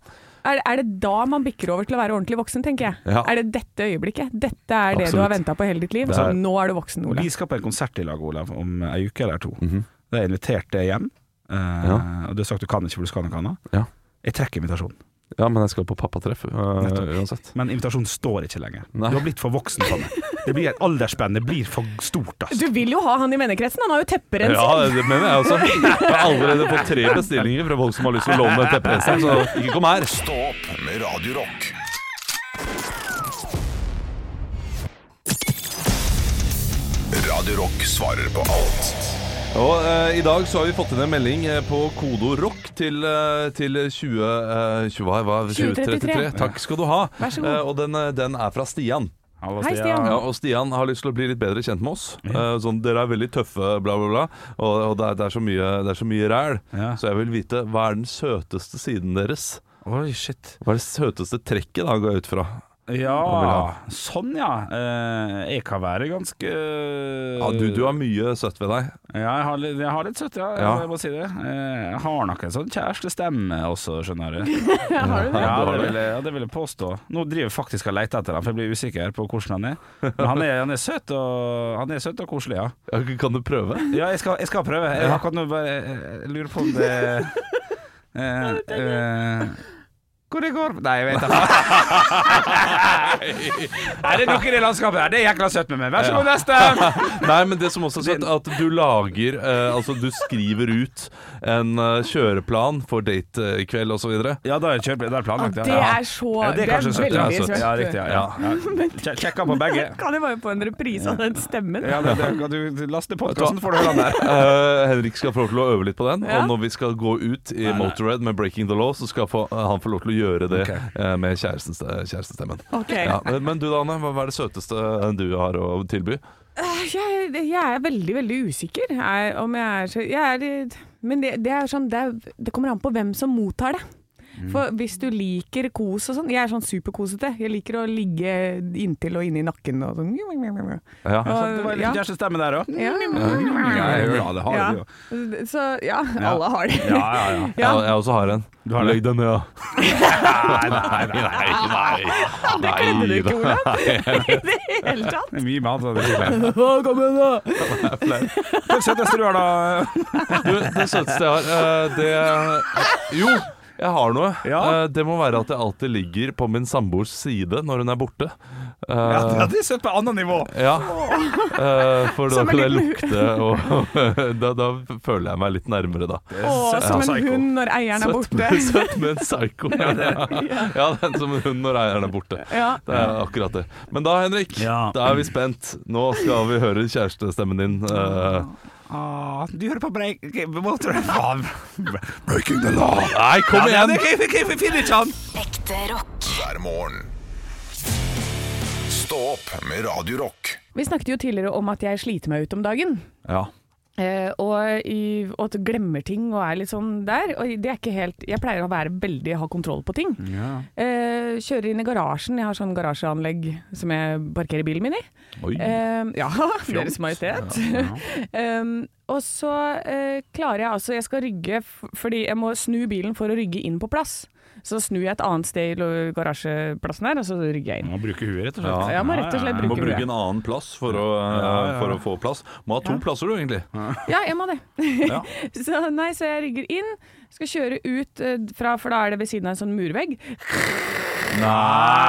[SPEAKER 3] Er, er det da man bikker over til å være ordentlig voksen, tenker jeg.
[SPEAKER 5] Ja.
[SPEAKER 3] Er det dette øyeblikket? Dette er det du
[SPEAKER 5] Absolutt.
[SPEAKER 3] har venta på hele ditt liv.
[SPEAKER 5] Det
[SPEAKER 3] Så
[SPEAKER 5] er-
[SPEAKER 3] nå er du voksen, Ole.
[SPEAKER 6] Vi skal på en konsert i lag, Olav, om ei uke eller to. Da har jeg invitert deg hjem, eh,
[SPEAKER 5] Mhm. Ja.
[SPEAKER 6] og du har sagt du kan ikke, for du skal noe annet.
[SPEAKER 5] Ja.
[SPEAKER 6] Jeg trekker invitasjonen,
[SPEAKER 5] Ja, men jeg skal på pappatreff øh, uansett.
[SPEAKER 6] men invitasjonen står ikke lenger.
[SPEAKER 5] Nei.
[SPEAKER 6] Du har blitt for voksen for meg. Det blir et aldersspenn, det blir for stort,
[SPEAKER 3] Du
[SPEAKER 6] altså.
[SPEAKER 3] vil jo ha han i vennekretsen, han har jo tepperenser.
[SPEAKER 5] Ja, det mener jeg også. Jeg har allerede fått tre bestillinger fra folk som har lyst til å låne tepperenser, så ikke kom her.
[SPEAKER 2] Stå opp med Radio Rock. Radio Rock svarer på alt.
[SPEAKER 5] Og eh, i dag så har vi fått inn en melding eh, på kodo rock til, eh, til 20... eh, 20 hva, hva, 2033. Takk skal du ha.
[SPEAKER 3] Vær så god.
[SPEAKER 5] Eh, og den, eh, den er fra Stian.
[SPEAKER 3] Hei, Stian.
[SPEAKER 5] Ja, og Stian har lyst til å bli litt bedre kjent med oss. Eh, sånn, dere er veldig tøffe, bla, bla, bla. Og, og det, er, det, er så mye, det er så mye ræl.
[SPEAKER 6] Ja.
[SPEAKER 5] Så jeg vil vite, hva er den søteste siden deres?
[SPEAKER 6] Oi, shit.
[SPEAKER 5] Hva er det søteste trekket da, går jeg ut fra? vil
[SPEAKER 6] Ja,
[SPEAKER 5] ha.
[SPEAKER 6] sånn ja. Eh, jeg kan være ganske
[SPEAKER 5] Ja, du, du har mye søtt ved deg.
[SPEAKER 6] Ja, jeg har litt, jeg har litt søtt, ja.
[SPEAKER 5] Ja.
[SPEAKER 6] Jeg må si det. Eh, Jeg har nok en sånn kjærestestemme også, skjønner du.
[SPEAKER 5] Har du det?
[SPEAKER 6] Ja, det vil, jeg, ja, det vil jeg påstå. Nå driver jeg faktisk og leter etter han, for jeg blir usikker på hvordan han er. Men han er, han er, søt, og, han er søt og koselig, ja.
[SPEAKER 5] Ja, kan du prøve?
[SPEAKER 6] Ja, jeg skal, jeg skal prøve. Jeg, akkurat nå bare eh, jeg lurer på om det eh, eh, Hvor det går Nei, jeg vet ikke. Er det noe i det landskapet her? Det er jækla søtt med meg. Vær så god, neste!
[SPEAKER 5] Nei, men det som også er søtt, at du lager eh, Altså, du skriver ut en eh, kjøreplan for date eh, i kveld og så videre.
[SPEAKER 6] Ja, da er det kjørt- da er det
[SPEAKER 3] Ja,
[SPEAKER 6] planlagt,
[SPEAKER 3] det er så
[SPEAKER 6] Ja,
[SPEAKER 3] Det er,
[SPEAKER 6] kanskje søtt,
[SPEAKER 5] ja,
[SPEAKER 3] veldig
[SPEAKER 5] søtt.
[SPEAKER 3] søtt.
[SPEAKER 6] Ja, riktig. Ja, ja. ja. Kje- Sjekka på begge.
[SPEAKER 3] Kan jeg bare få en reprise av den stemmen?
[SPEAKER 6] Ja, det, det, du, du laster podkasten, får du høre den der.
[SPEAKER 5] Eh, Henrik skal få lov til å øve litt på den.
[SPEAKER 3] Ja.
[SPEAKER 5] Og når vi skal gå ut i Motorhead med 'Breaking the Law', så skal få, eh, han få lov til å gjøre det
[SPEAKER 6] Ok.
[SPEAKER 5] eh, med kjærestens, eh, kjærestestemmen.
[SPEAKER 3] Ok.
[SPEAKER 5] Ja, men, men du da, Anne. Hva hva er det søteste eh, du har å tilby?
[SPEAKER 3] Jeg, jeg er veldig, veldig usikker er, om jeg er så jeg er, litt- Men det, det er sånn det, er, det kommer an på hvem som mottar det.
[SPEAKER 6] Mm.
[SPEAKER 3] For hvis du liker kos og sånn Jeg er sånn superkosete. Jeg liker å ligge inntil og inni nakken og sånn.
[SPEAKER 5] Ja.
[SPEAKER 6] Så det var litt
[SPEAKER 3] Ja.
[SPEAKER 6] kjærestestemme der òg.
[SPEAKER 3] Ja.
[SPEAKER 6] Ja, ja, det har
[SPEAKER 3] Ja.
[SPEAKER 6] du jo.
[SPEAKER 3] Så ja, alle har det.
[SPEAKER 6] Ja, ja, ja.
[SPEAKER 3] Ja.
[SPEAKER 5] Jeg, jeg også har en.
[SPEAKER 6] Du har det?
[SPEAKER 5] Legg deg ned, da.
[SPEAKER 6] Nei, nei, nei.
[SPEAKER 5] nei.
[SPEAKER 3] Det kledde du ikke, Olav. I det hele tatt.
[SPEAKER 6] Det er mye mat. Det er mye.
[SPEAKER 3] Å, kom igjen, da!
[SPEAKER 6] Den søteste du har, da?
[SPEAKER 5] Du, det søteste jeg har, eh, det Jo, jeg har noe.
[SPEAKER 6] Ja.
[SPEAKER 5] Eh, Det må være at jeg alltid ligger på min samboers side når hun er borte. Eh,
[SPEAKER 6] Ja, det- det er søtt på annet nivå.
[SPEAKER 5] Ja. Eh, For da
[SPEAKER 3] Som en
[SPEAKER 5] kan jeg
[SPEAKER 3] liten-
[SPEAKER 5] lukte, og da, da føler jeg meg litt nærmere da.
[SPEAKER 3] Å, som en
[SPEAKER 6] psycho.
[SPEAKER 3] hund når eieren er
[SPEAKER 5] Søtt,
[SPEAKER 3] borte.
[SPEAKER 5] men- søtt med en psycho. Ja, det er som en hund når eieren er borte.
[SPEAKER 3] Ja.
[SPEAKER 5] Det er akkurat det. Men da, Henrik,
[SPEAKER 6] Ja.
[SPEAKER 5] da er vi spent. Nå skal vi høre kjærestestemmen din. eh,
[SPEAKER 6] Ah, du hører på break... ok, Walter Faen.
[SPEAKER 2] Breaking the law.
[SPEAKER 5] Nei, kom
[SPEAKER 6] Ja, det-
[SPEAKER 5] igjen!
[SPEAKER 6] ok, ok, Vi finner ikke han!
[SPEAKER 1] Ekte rock.
[SPEAKER 2] hver morgen. Stå opp med Radio Rock.
[SPEAKER 3] Vi snakket jo tidligere om at jeg sliter meg ut om dagen.
[SPEAKER 5] Ja.
[SPEAKER 3] Eh, og, i, og at du glemmer ting og er litt sånn der. Og det er ikke helt Jeg pleier å være veldig ha kontroll på ting. Eh, kjører inn i garasjen. Jeg har sånn garasjeanlegg som jeg parkerer bilen min i.
[SPEAKER 5] Oi.
[SPEAKER 3] Eh, ja, Deres Majestet. Em, og så eh, klarer jeg altså Jeg skal rygge f fordi jeg må snu bilen for å rygge inn på plass. Så snur jeg et annet sted i lo- garasjeplassen her, og så rygger jeg inn.
[SPEAKER 6] Må bruke huet, rett og
[SPEAKER 5] Ja.
[SPEAKER 3] Jeg må rett og slett
[SPEAKER 5] Du må
[SPEAKER 3] bruke
[SPEAKER 5] bruke
[SPEAKER 3] huet.
[SPEAKER 5] en annen plass for å, eh,
[SPEAKER 6] ja.
[SPEAKER 5] for å få plass. Må ha to plasser, du, egentlig.
[SPEAKER 3] Ja, jeg må det. så, nei, så jeg rygger inn, skal kjøre ut eh, fra, for da er det ved siden av en sånn murvegg.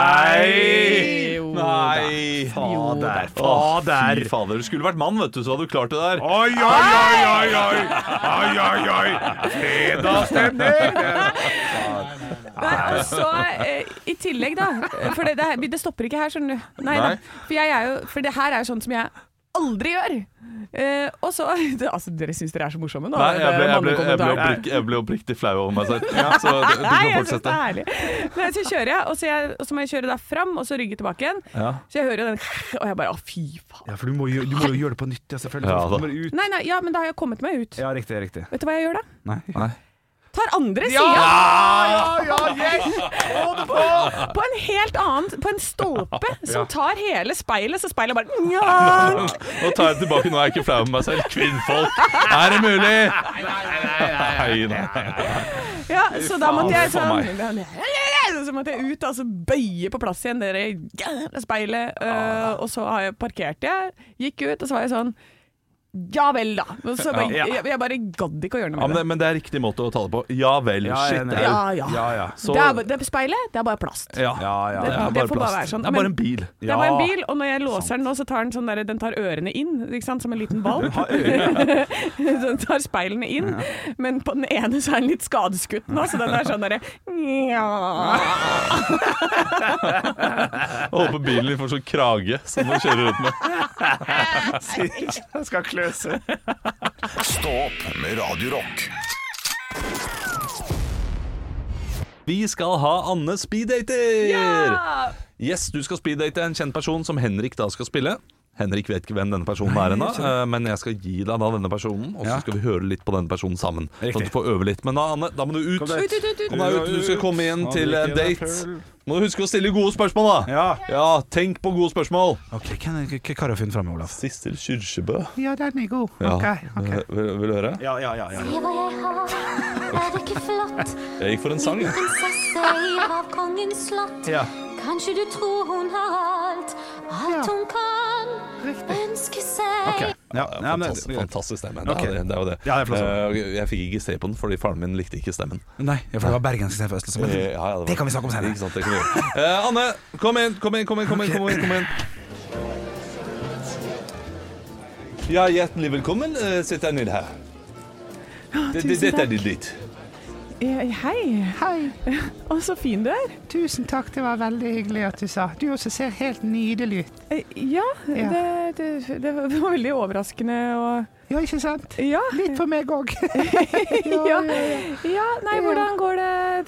[SPEAKER 5] Nei!
[SPEAKER 3] Jo
[SPEAKER 5] Nei!
[SPEAKER 6] Fader,
[SPEAKER 5] Fader.
[SPEAKER 6] fader.
[SPEAKER 5] Fy fader, du skulle vært mann, vet du, så hadde du klart det der.
[SPEAKER 6] Oi, oi, oi, oi, oi! Oi, oi, oi! Fredagsstemning!
[SPEAKER 5] Ah,
[SPEAKER 3] Nei, og så eh, I tillegg, da. For det, det, her- det stopper ikke her, skjønner du. Nei,
[SPEAKER 5] Nei.
[SPEAKER 3] Da, for, jeg er jo, for det her er jo sånn som jeg aldri gjør. Eh, og så det, Altså, dere syns dere er så morsomme nå.
[SPEAKER 5] Nei, jeg
[SPEAKER 3] det
[SPEAKER 5] ble,
[SPEAKER 3] er
[SPEAKER 5] jeg ble, jeg ble,
[SPEAKER 3] mannekommentaren.
[SPEAKER 5] oppriktig, jeg ble oppriktig flau over meg selv. Så du, du
[SPEAKER 3] Nei, jeg
[SPEAKER 5] kan
[SPEAKER 3] synes det
[SPEAKER 5] fortsette.
[SPEAKER 3] er herlig. Nei, så kjører jeg, og så, jeg, og så må jeg kjøre da fram, og så rygge tilbake igjen.
[SPEAKER 5] Ja.
[SPEAKER 3] Så jeg hører jo den Og jeg bare å, fy faen.
[SPEAKER 6] Ja, for du må, jo- du må jo gjøre det på nytt, ja, selvfølgelig.
[SPEAKER 5] Ja, da.
[SPEAKER 6] du må ut.
[SPEAKER 3] Nei, nei, ja, men da har jeg kommet meg ut.
[SPEAKER 6] Ja, riktig, riktig.
[SPEAKER 3] Vet du hva jeg gjør da?
[SPEAKER 6] Nei.
[SPEAKER 3] Tar andre sida! På en helt annen På en stolpe som tar hele speilet, så speilet bare Njank!
[SPEAKER 5] Nå tar jeg det tilbake, nå er jeg ikke flau over meg selv. Kvinnfolk, er det mulig? Nei, nei, nei.
[SPEAKER 3] Ja, så da måtte jeg
[SPEAKER 5] faen,
[SPEAKER 3] sånn Så måtte jeg ut, altså bøye på plass igjen det der speilet. øh, og så har jeg parkert jeg, gikk ut, og så var jeg sånn Ja vel, da. Og så bare,
[SPEAKER 6] Ja.
[SPEAKER 3] jeg, jeg bare gadd ikke å gjøre
[SPEAKER 5] Ja,
[SPEAKER 3] noe med
[SPEAKER 5] men, det,
[SPEAKER 3] det.
[SPEAKER 5] men det er riktig måte å ta det på. Ja vel,
[SPEAKER 6] Ja, jeg er
[SPEAKER 5] shit.
[SPEAKER 6] enig.
[SPEAKER 5] det er-
[SPEAKER 3] Ja, ja.
[SPEAKER 6] Ja, ja.
[SPEAKER 5] Så,
[SPEAKER 3] Det,
[SPEAKER 5] ja,
[SPEAKER 3] er, ba- det speilet, det er bare plast.
[SPEAKER 6] Ja, ja.
[SPEAKER 5] det er
[SPEAKER 3] det
[SPEAKER 5] bare
[SPEAKER 3] får bare
[SPEAKER 5] plast.
[SPEAKER 3] være sånn.
[SPEAKER 5] Det er
[SPEAKER 3] Men-
[SPEAKER 5] bare en bil.
[SPEAKER 3] Det er bare en bil, og når jeg låser den nå, så tar den sånn der, den tar ørene inn, ikke sant, som en liten ball. den tar speilene inn, men på den ene så er den litt skadeskutt nå, så den er sånn derre Nja.
[SPEAKER 5] Jeg håper bilen din får sånn krage som den kjører rundt med.
[SPEAKER 6] Jeg skal kløse.
[SPEAKER 2] Stå opp med Radio Rock.
[SPEAKER 5] Vi skal ha Anne speeddater!
[SPEAKER 3] Ja!
[SPEAKER 5] Yes, du skal speeddate en kjent person som Henrik da skal spille. Henrik vet ikke hvem denne personen er ennå, eh, men jeg skal gi deg da denne personen, og så
[SPEAKER 6] Ja.
[SPEAKER 5] skal vi høre litt på denne personen sammen.
[SPEAKER 6] Riktig.
[SPEAKER 5] Sånn at du får øve litt. Men da, Anne, da må du ut.
[SPEAKER 6] deg
[SPEAKER 3] Ut, ut, ut, ut.
[SPEAKER 5] Kom deg ut, du skal komme inn
[SPEAKER 6] Ja,
[SPEAKER 5] til
[SPEAKER 6] drikke
[SPEAKER 5] en date.
[SPEAKER 6] deg full.
[SPEAKER 5] Må du huske å stille gode spørsmål, da.
[SPEAKER 6] Ja.
[SPEAKER 5] Ja, tenk på gode spørsmål.
[SPEAKER 6] Ok, Hva har du funnet fram, Olaf?
[SPEAKER 5] Sissel Kyrkjebø.
[SPEAKER 6] Ja, den er god.
[SPEAKER 5] Ja. Eh, Vil, vil du høre?
[SPEAKER 6] Ja, ja, ja, ja.
[SPEAKER 7] Se hva jeg har, er det ikke flott?
[SPEAKER 5] Jeg gikk for en sang,
[SPEAKER 7] Liten
[SPEAKER 5] jeg.
[SPEAKER 7] prinsesse i havkongens slott.
[SPEAKER 6] Ja.
[SPEAKER 7] Kanskje du tror hun har alt, alt hun kan ønske seg.
[SPEAKER 6] Ok. Ja, ja, men,
[SPEAKER 5] Fantastisk, fantastisk stemme.
[SPEAKER 6] Ok.
[SPEAKER 5] Det, er, det- det er jo det.
[SPEAKER 6] Ja, det er flott.
[SPEAKER 5] Eh, jeg fikk ikke se på den fordi faren min likte ikke stemmen.
[SPEAKER 6] Nei, ja, for det var bergensk istedenfor østlig.
[SPEAKER 5] Eh,
[SPEAKER 6] men-
[SPEAKER 5] ja, ja, var-
[SPEAKER 6] Det kan vi snakke om senere.
[SPEAKER 5] Ikke sant, det kan vi gjøre. Eh, Anne, kom inn, kom inn, kom inn, kom inn, kom inn, kom inn. Ja, hjertelig velkommen. Eh, Sett deg ned her.
[SPEAKER 6] Ah,
[SPEAKER 5] Det- det-
[SPEAKER 3] tusen
[SPEAKER 5] Dette er ditt litt.
[SPEAKER 3] Eh, Hei.
[SPEAKER 8] Hei.
[SPEAKER 3] Å, så fin du er.
[SPEAKER 8] Tusen takk, det var veldig hyggelig at du sa. Du også ser helt nydelig ut.
[SPEAKER 3] Eh, Ja,
[SPEAKER 8] Ja.
[SPEAKER 3] det, det, det var veldig overraskende og
[SPEAKER 8] Ja, ikke sant?
[SPEAKER 3] Ja.
[SPEAKER 8] Litt for meg òg.
[SPEAKER 3] Ja, ja nei, hvordan går det?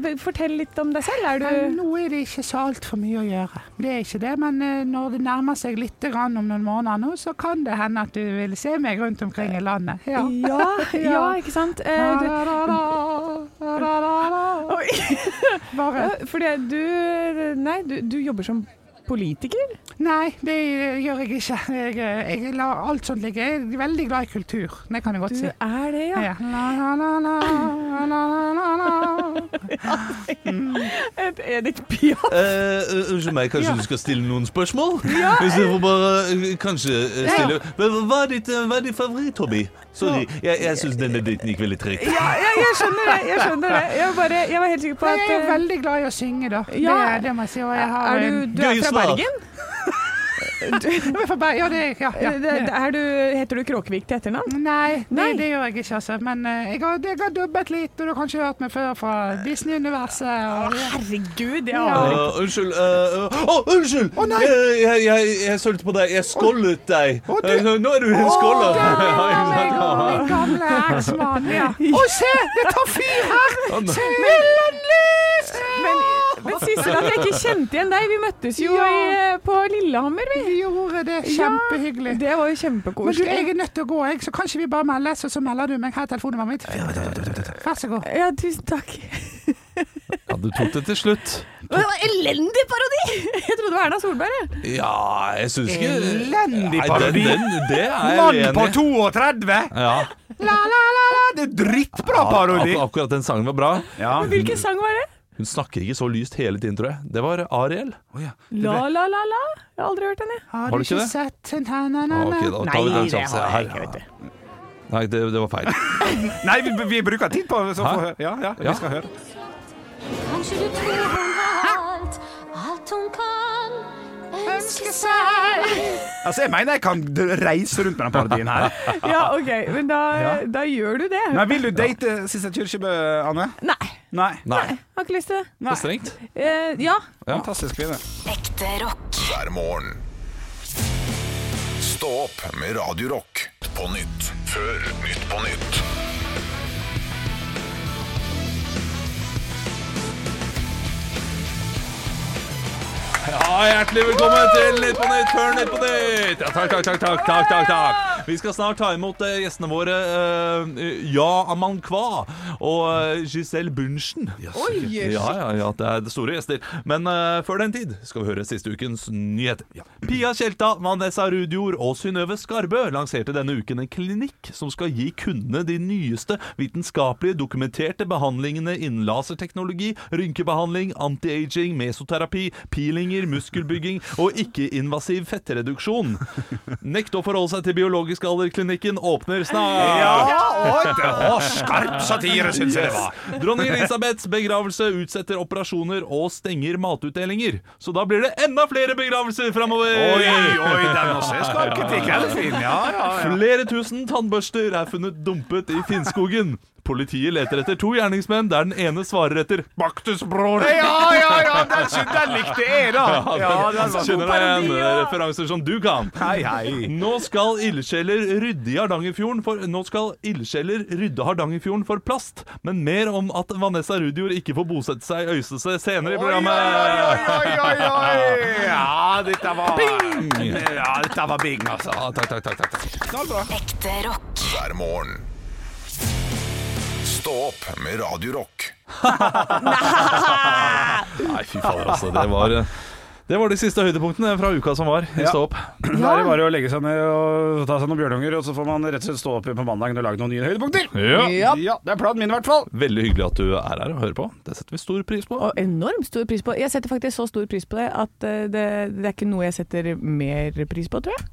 [SPEAKER 3] det Fortell litt om deg selv. Er du
[SPEAKER 8] Nå er det ikke så altfor mye å gjøre. Det er ikke det, men eh, når det nærmer seg litt grann om noen måneder nå, så kan det hende at du vil se meg rundt omkring i landet. Ja.
[SPEAKER 3] Ja, ja, ikke sant? Eh,
[SPEAKER 8] Da-da-da-da, da-da-da-da. Bare
[SPEAKER 3] Ja, Fordi du Nei, du, du jobber som politiker?
[SPEAKER 8] Nei, det gjør jeg ikke. Jeg, jeg lar alt sånt ligge. Jeg er veldig glad i kultur. Det kan jeg godt
[SPEAKER 3] Du
[SPEAKER 8] si.
[SPEAKER 3] er det, ja.
[SPEAKER 8] Ja. La, la, la, la, la, la, la, la.
[SPEAKER 3] Et Edith Piaf.
[SPEAKER 5] Eh, Unnskyld meg, kanskje du skal stille noen spørsmål? Ja, Hvis jeg får bare eh, kanskje eh, stille Men hva- Hva er ditt, eh, hva er ditt favoritthobby? Sorry, jeg, jeg syns denne daten gikk veldig tregt.
[SPEAKER 3] Ja, ja, jeg skjønner det. Jeg skjønner det. Jeg, bare, jeg var helt sikker på
[SPEAKER 8] Nei,
[SPEAKER 3] at
[SPEAKER 8] Jeg er
[SPEAKER 3] eh,
[SPEAKER 8] veldig glad i å synge, da.
[SPEAKER 3] Ja.
[SPEAKER 8] Det, det må jeg si. Og jeg har
[SPEAKER 3] Er
[SPEAKER 8] en-
[SPEAKER 3] du, du er
[SPEAKER 5] Gøy
[SPEAKER 3] fra
[SPEAKER 5] svar.
[SPEAKER 3] Bergen?
[SPEAKER 8] Jeg er fra Bergen. Ja, det er jeg. Ja, ja.
[SPEAKER 3] Det- det- Er du, heter du Kråkevik til etternavn?
[SPEAKER 8] Nei,
[SPEAKER 3] Nei.
[SPEAKER 8] Det, det gjør jeg ikke, altså. Men eh, jeg har, jeg har dubbet litt, og du har kanskje hørt meg før fra Disney-universet. Og,
[SPEAKER 3] Herregud, jeg
[SPEAKER 8] Ja.
[SPEAKER 3] aner ikke.
[SPEAKER 5] Eh, unnskyld. eh, eh, Å, unnskyld!
[SPEAKER 8] Å, nei!
[SPEAKER 5] jeg, jeg, jeg, jeg sølte på deg. Jeg skålet deg.
[SPEAKER 8] Å, du-
[SPEAKER 5] Eh, nå- Nå er du en skåler.
[SPEAKER 8] Ja, jeg og min gamle eksmann. Ja. Å, se! Det tar fyr her! Se, Mellomlys!
[SPEAKER 3] Men, men Sissel, at jeg ikke kjente igjen deg. Vi møttes jo
[SPEAKER 8] Ja.
[SPEAKER 3] i, eh, på Lillehammer, vi.
[SPEAKER 8] Vi gjorde det kjempehyggelig.
[SPEAKER 3] Ja, det var jo
[SPEAKER 8] Men du,
[SPEAKER 3] kjempekoselig.
[SPEAKER 8] jeg er nødt til å gå, jeg, så kanskje vi bare meldes, og så melder du meg. Her er telefonnummeret mitt. Vær så god.
[SPEAKER 3] Ja, tusen takk.
[SPEAKER 5] Ja, du tok det til slutt.
[SPEAKER 3] Det var elendig parodi! Jeg trodde det var Erna Solberg. jeg.
[SPEAKER 5] Ja, jeg syns ikke
[SPEAKER 6] Elendig
[SPEAKER 5] Nei,
[SPEAKER 6] parodi.
[SPEAKER 5] Den, den, det er jeg
[SPEAKER 6] Mann på
[SPEAKER 5] uenig i.
[SPEAKER 6] 32!
[SPEAKER 5] Ja.
[SPEAKER 6] La, la, la, la. Det er drittbra parodi.
[SPEAKER 5] Ak akkurat den sangen var bra.
[SPEAKER 6] Ja.
[SPEAKER 5] Mm.
[SPEAKER 3] Hvilken sang var det?
[SPEAKER 5] Hun snakker ikke så lyst hele tiden, tror jeg. Det var Ariel.
[SPEAKER 3] La la la la. Jeg har aldri hørt den, jeg.
[SPEAKER 8] Har
[SPEAKER 5] du
[SPEAKER 8] du
[SPEAKER 5] ikke
[SPEAKER 8] ikke
[SPEAKER 5] det?
[SPEAKER 8] sett na, na,
[SPEAKER 5] Ah,
[SPEAKER 8] na,
[SPEAKER 5] ok,
[SPEAKER 8] na.
[SPEAKER 5] da tar vi den
[SPEAKER 3] det
[SPEAKER 5] sjansen
[SPEAKER 3] har jeg
[SPEAKER 5] her. Nei, det, det var feil.
[SPEAKER 6] Nei, vi, vi bruker tid på så
[SPEAKER 5] Hæ?
[SPEAKER 6] få høre. Ja, ja,
[SPEAKER 5] Ja.
[SPEAKER 6] vi skal høre.
[SPEAKER 7] Kanskje du tror hun har alt, alt hun kan ønske seg.
[SPEAKER 6] Altså, jeg mener jeg kan d- reise rundt med den parodien her.
[SPEAKER 3] Ja, OK. Men da, da gjør du det.
[SPEAKER 6] Men vil du date eh, Sissel Kyrkjebø, Anne?
[SPEAKER 3] Nei.
[SPEAKER 6] Nei.
[SPEAKER 5] Nei,
[SPEAKER 3] Har ikke lyst til det.
[SPEAKER 5] det er strengt.
[SPEAKER 3] Eh, ja.
[SPEAKER 5] Ja.
[SPEAKER 6] Fantastisk kvinne.
[SPEAKER 1] Ekte rock.
[SPEAKER 2] hver morgen. Stå opp med Radio Rock. På nytt. Før Nytt på nytt.
[SPEAKER 5] Ja, hjertelig velkommen til Nytt på Nytt før Nytt på Nytt. Ja, takk, takk, takk, takk, takk, takk, takk. Vi skal snart ta imot eh, gjestene våre eh, Ja Amankwa og eh, Giselle Bunchen.
[SPEAKER 3] Oi,
[SPEAKER 5] Ja, ja, ja, det er store gjester. Men eh, før den tid skal vi høre siste ukens nyheter. Pia Tjelta, Vanessa Rudjord og Synnøve Skarbø lanserte denne uken en klinikk som skal gi kundene de nyeste vitenskapelige dokumenterte behandlingene innen laserteknologi, rynkebehandling, anti-aging, mesoterapi, peelinger, muskelbygging og ikke-invasiv fettreduksjon. Nekt å forholde seg til biologisk alderklinikken åpner snart.
[SPEAKER 6] og skarp satire, syns jeg det var.
[SPEAKER 5] Dronning Elisabeths begravelse utsetter operasjoner og stenger matutdelinger. Så da blir det enda flere begravelser framover!
[SPEAKER 6] Oi, oi, den også er skarp kritikk. Den er fin. Ja, ja, ja.
[SPEAKER 5] Flere tusen tannbørster er funnet dumpet i Finnskogen. Politiet leter etter to gjerningsmenn, der den ene svarer etter 'Baktusbror'.
[SPEAKER 6] Ja, ja, ja, den, sy- den likte jeg, da. Ja, den var
[SPEAKER 5] Kjenner
[SPEAKER 6] god.
[SPEAKER 5] deg igjen referanser som du kan.
[SPEAKER 6] Hei, hei.
[SPEAKER 5] Nå skal ildsjeler rydde i Hardangerfjorden for Nå skal ildsjeler rydde Hardangerfjorden for plast, men mer om at Vanessa Rudjord ikke får bosette seg i Øystese senere i programmet.
[SPEAKER 6] Oi, oi, oi, oi, oi. Ja, dette var Ja, dette var bing, altså.
[SPEAKER 5] Ja, takk, takk, takk, takk, takk.
[SPEAKER 1] Ekte rock.
[SPEAKER 2] hver morgen. Stå opp med Radio Rock.
[SPEAKER 5] Nei, fy fader, altså. Det var, det var de siste høydepunktene fra uka som var. i
[SPEAKER 6] Ja.
[SPEAKER 5] Stå opp.
[SPEAKER 6] Da er det bare å legge seg ned og ta seg noen bjørnunger, og så får man rett og slett stå opp på mandagen og lage noen nye høydepunkter.
[SPEAKER 3] Ja.
[SPEAKER 6] Ja, det er planen min i hvert fall.
[SPEAKER 5] Veldig hyggelig at du er her og hører på. Det setter vi stor pris på.
[SPEAKER 3] Og enormt stor pris på Jeg setter faktisk så stor pris på det at eh, det, det er ikke noe jeg setter mer pris på, tror jeg.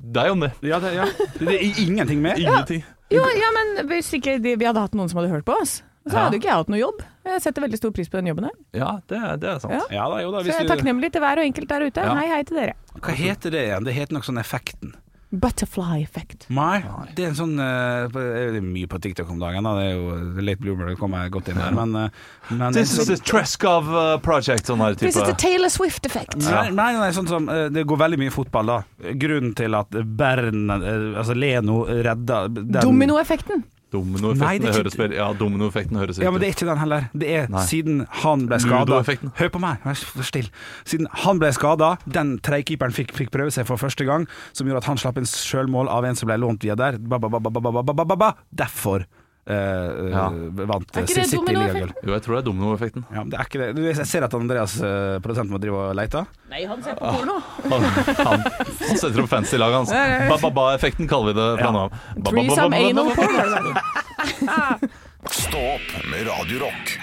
[SPEAKER 5] Det er jo det.
[SPEAKER 6] Ja, det, ja. det er ingenting mer.
[SPEAKER 5] Ingenting.
[SPEAKER 3] Jo, ja, men hvis ikke de, vi hadde hatt noen som hadde hørt på oss, så
[SPEAKER 5] Ja.
[SPEAKER 3] hadde jo ikke jeg hatt noe jobb. Jeg setter veldig stor pris på den jobben her.
[SPEAKER 5] Ja, det er, det er sant.
[SPEAKER 3] Ja.
[SPEAKER 6] Ja, da, jo, da,
[SPEAKER 3] Så
[SPEAKER 6] hvis
[SPEAKER 3] jeg er
[SPEAKER 6] du...
[SPEAKER 3] takknemlig til hver og enkelt der ute.
[SPEAKER 5] Ja.
[SPEAKER 3] Hei, hei til dere.
[SPEAKER 6] Hva heter det igjen? Det heter nok sånn effekten.
[SPEAKER 3] Butterfly effect.
[SPEAKER 6] Nei, det er en sånn eh, på- Det er mye på TikTok om dagen, da. Det er jo Late Bloomer kommer godt inn her, men, eh, men
[SPEAKER 5] This is a Treskov uh, project, sånn her
[SPEAKER 3] This is the
[SPEAKER 5] type.
[SPEAKER 3] Taylor Swift effect.
[SPEAKER 6] Nei, nei, nei, sånn som eh, Det går veldig mye fotball, da. Grunnen til at Bern, eh, altså Leno, redda den
[SPEAKER 3] Dominoeffekten.
[SPEAKER 6] Nei, det
[SPEAKER 5] Dominoeffekten
[SPEAKER 6] er ikke-
[SPEAKER 5] høres vel Ja, dominoeffekten høres
[SPEAKER 6] Ja, men det
[SPEAKER 5] riktig
[SPEAKER 6] er ikke den heller. Det er
[SPEAKER 5] Nei.
[SPEAKER 6] siden han ble skada
[SPEAKER 5] Ludo-effekten.
[SPEAKER 6] Hør på meg, vær s- vær still. Siden han ble skada, den trekeeperen fikk, fikk prøve seg for første gang, som gjorde at han slapp inn sjølmål av en som ble lånt via der. Ba, ba, ba, ba, ba, ba, ba, ba, ba, ba, ba. Derfor eh, eh,
[SPEAKER 5] Ja.
[SPEAKER 6] vant
[SPEAKER 3] Er ikke
[SPEAKER 6] Sin
[SPEAKER 3] det
[SPEAKER 6] City-ligagull.
[SPEAKER 3] dominoeffekt?
[SPEAKER 5] Jo, jeg tror det er dominoeffekten.
[SPEAKER 6] Ja, men det er ikke det. Du, Jeg ser at Andreas, eh, produsenten vår, driver og leter.
[SPEAKER 3] Nei, han ser på porno.
[SPEAKER 5] Han, han, han setter opp fancy lag, hans. Ba-ba-ba-effekten kaller vi det fra nå av. Ba-ba-ba-ba-ba-ba.
[SPEAKER 3] Threesome anal porn.
[SPEAKER 2] Stå opp med Radio Rock.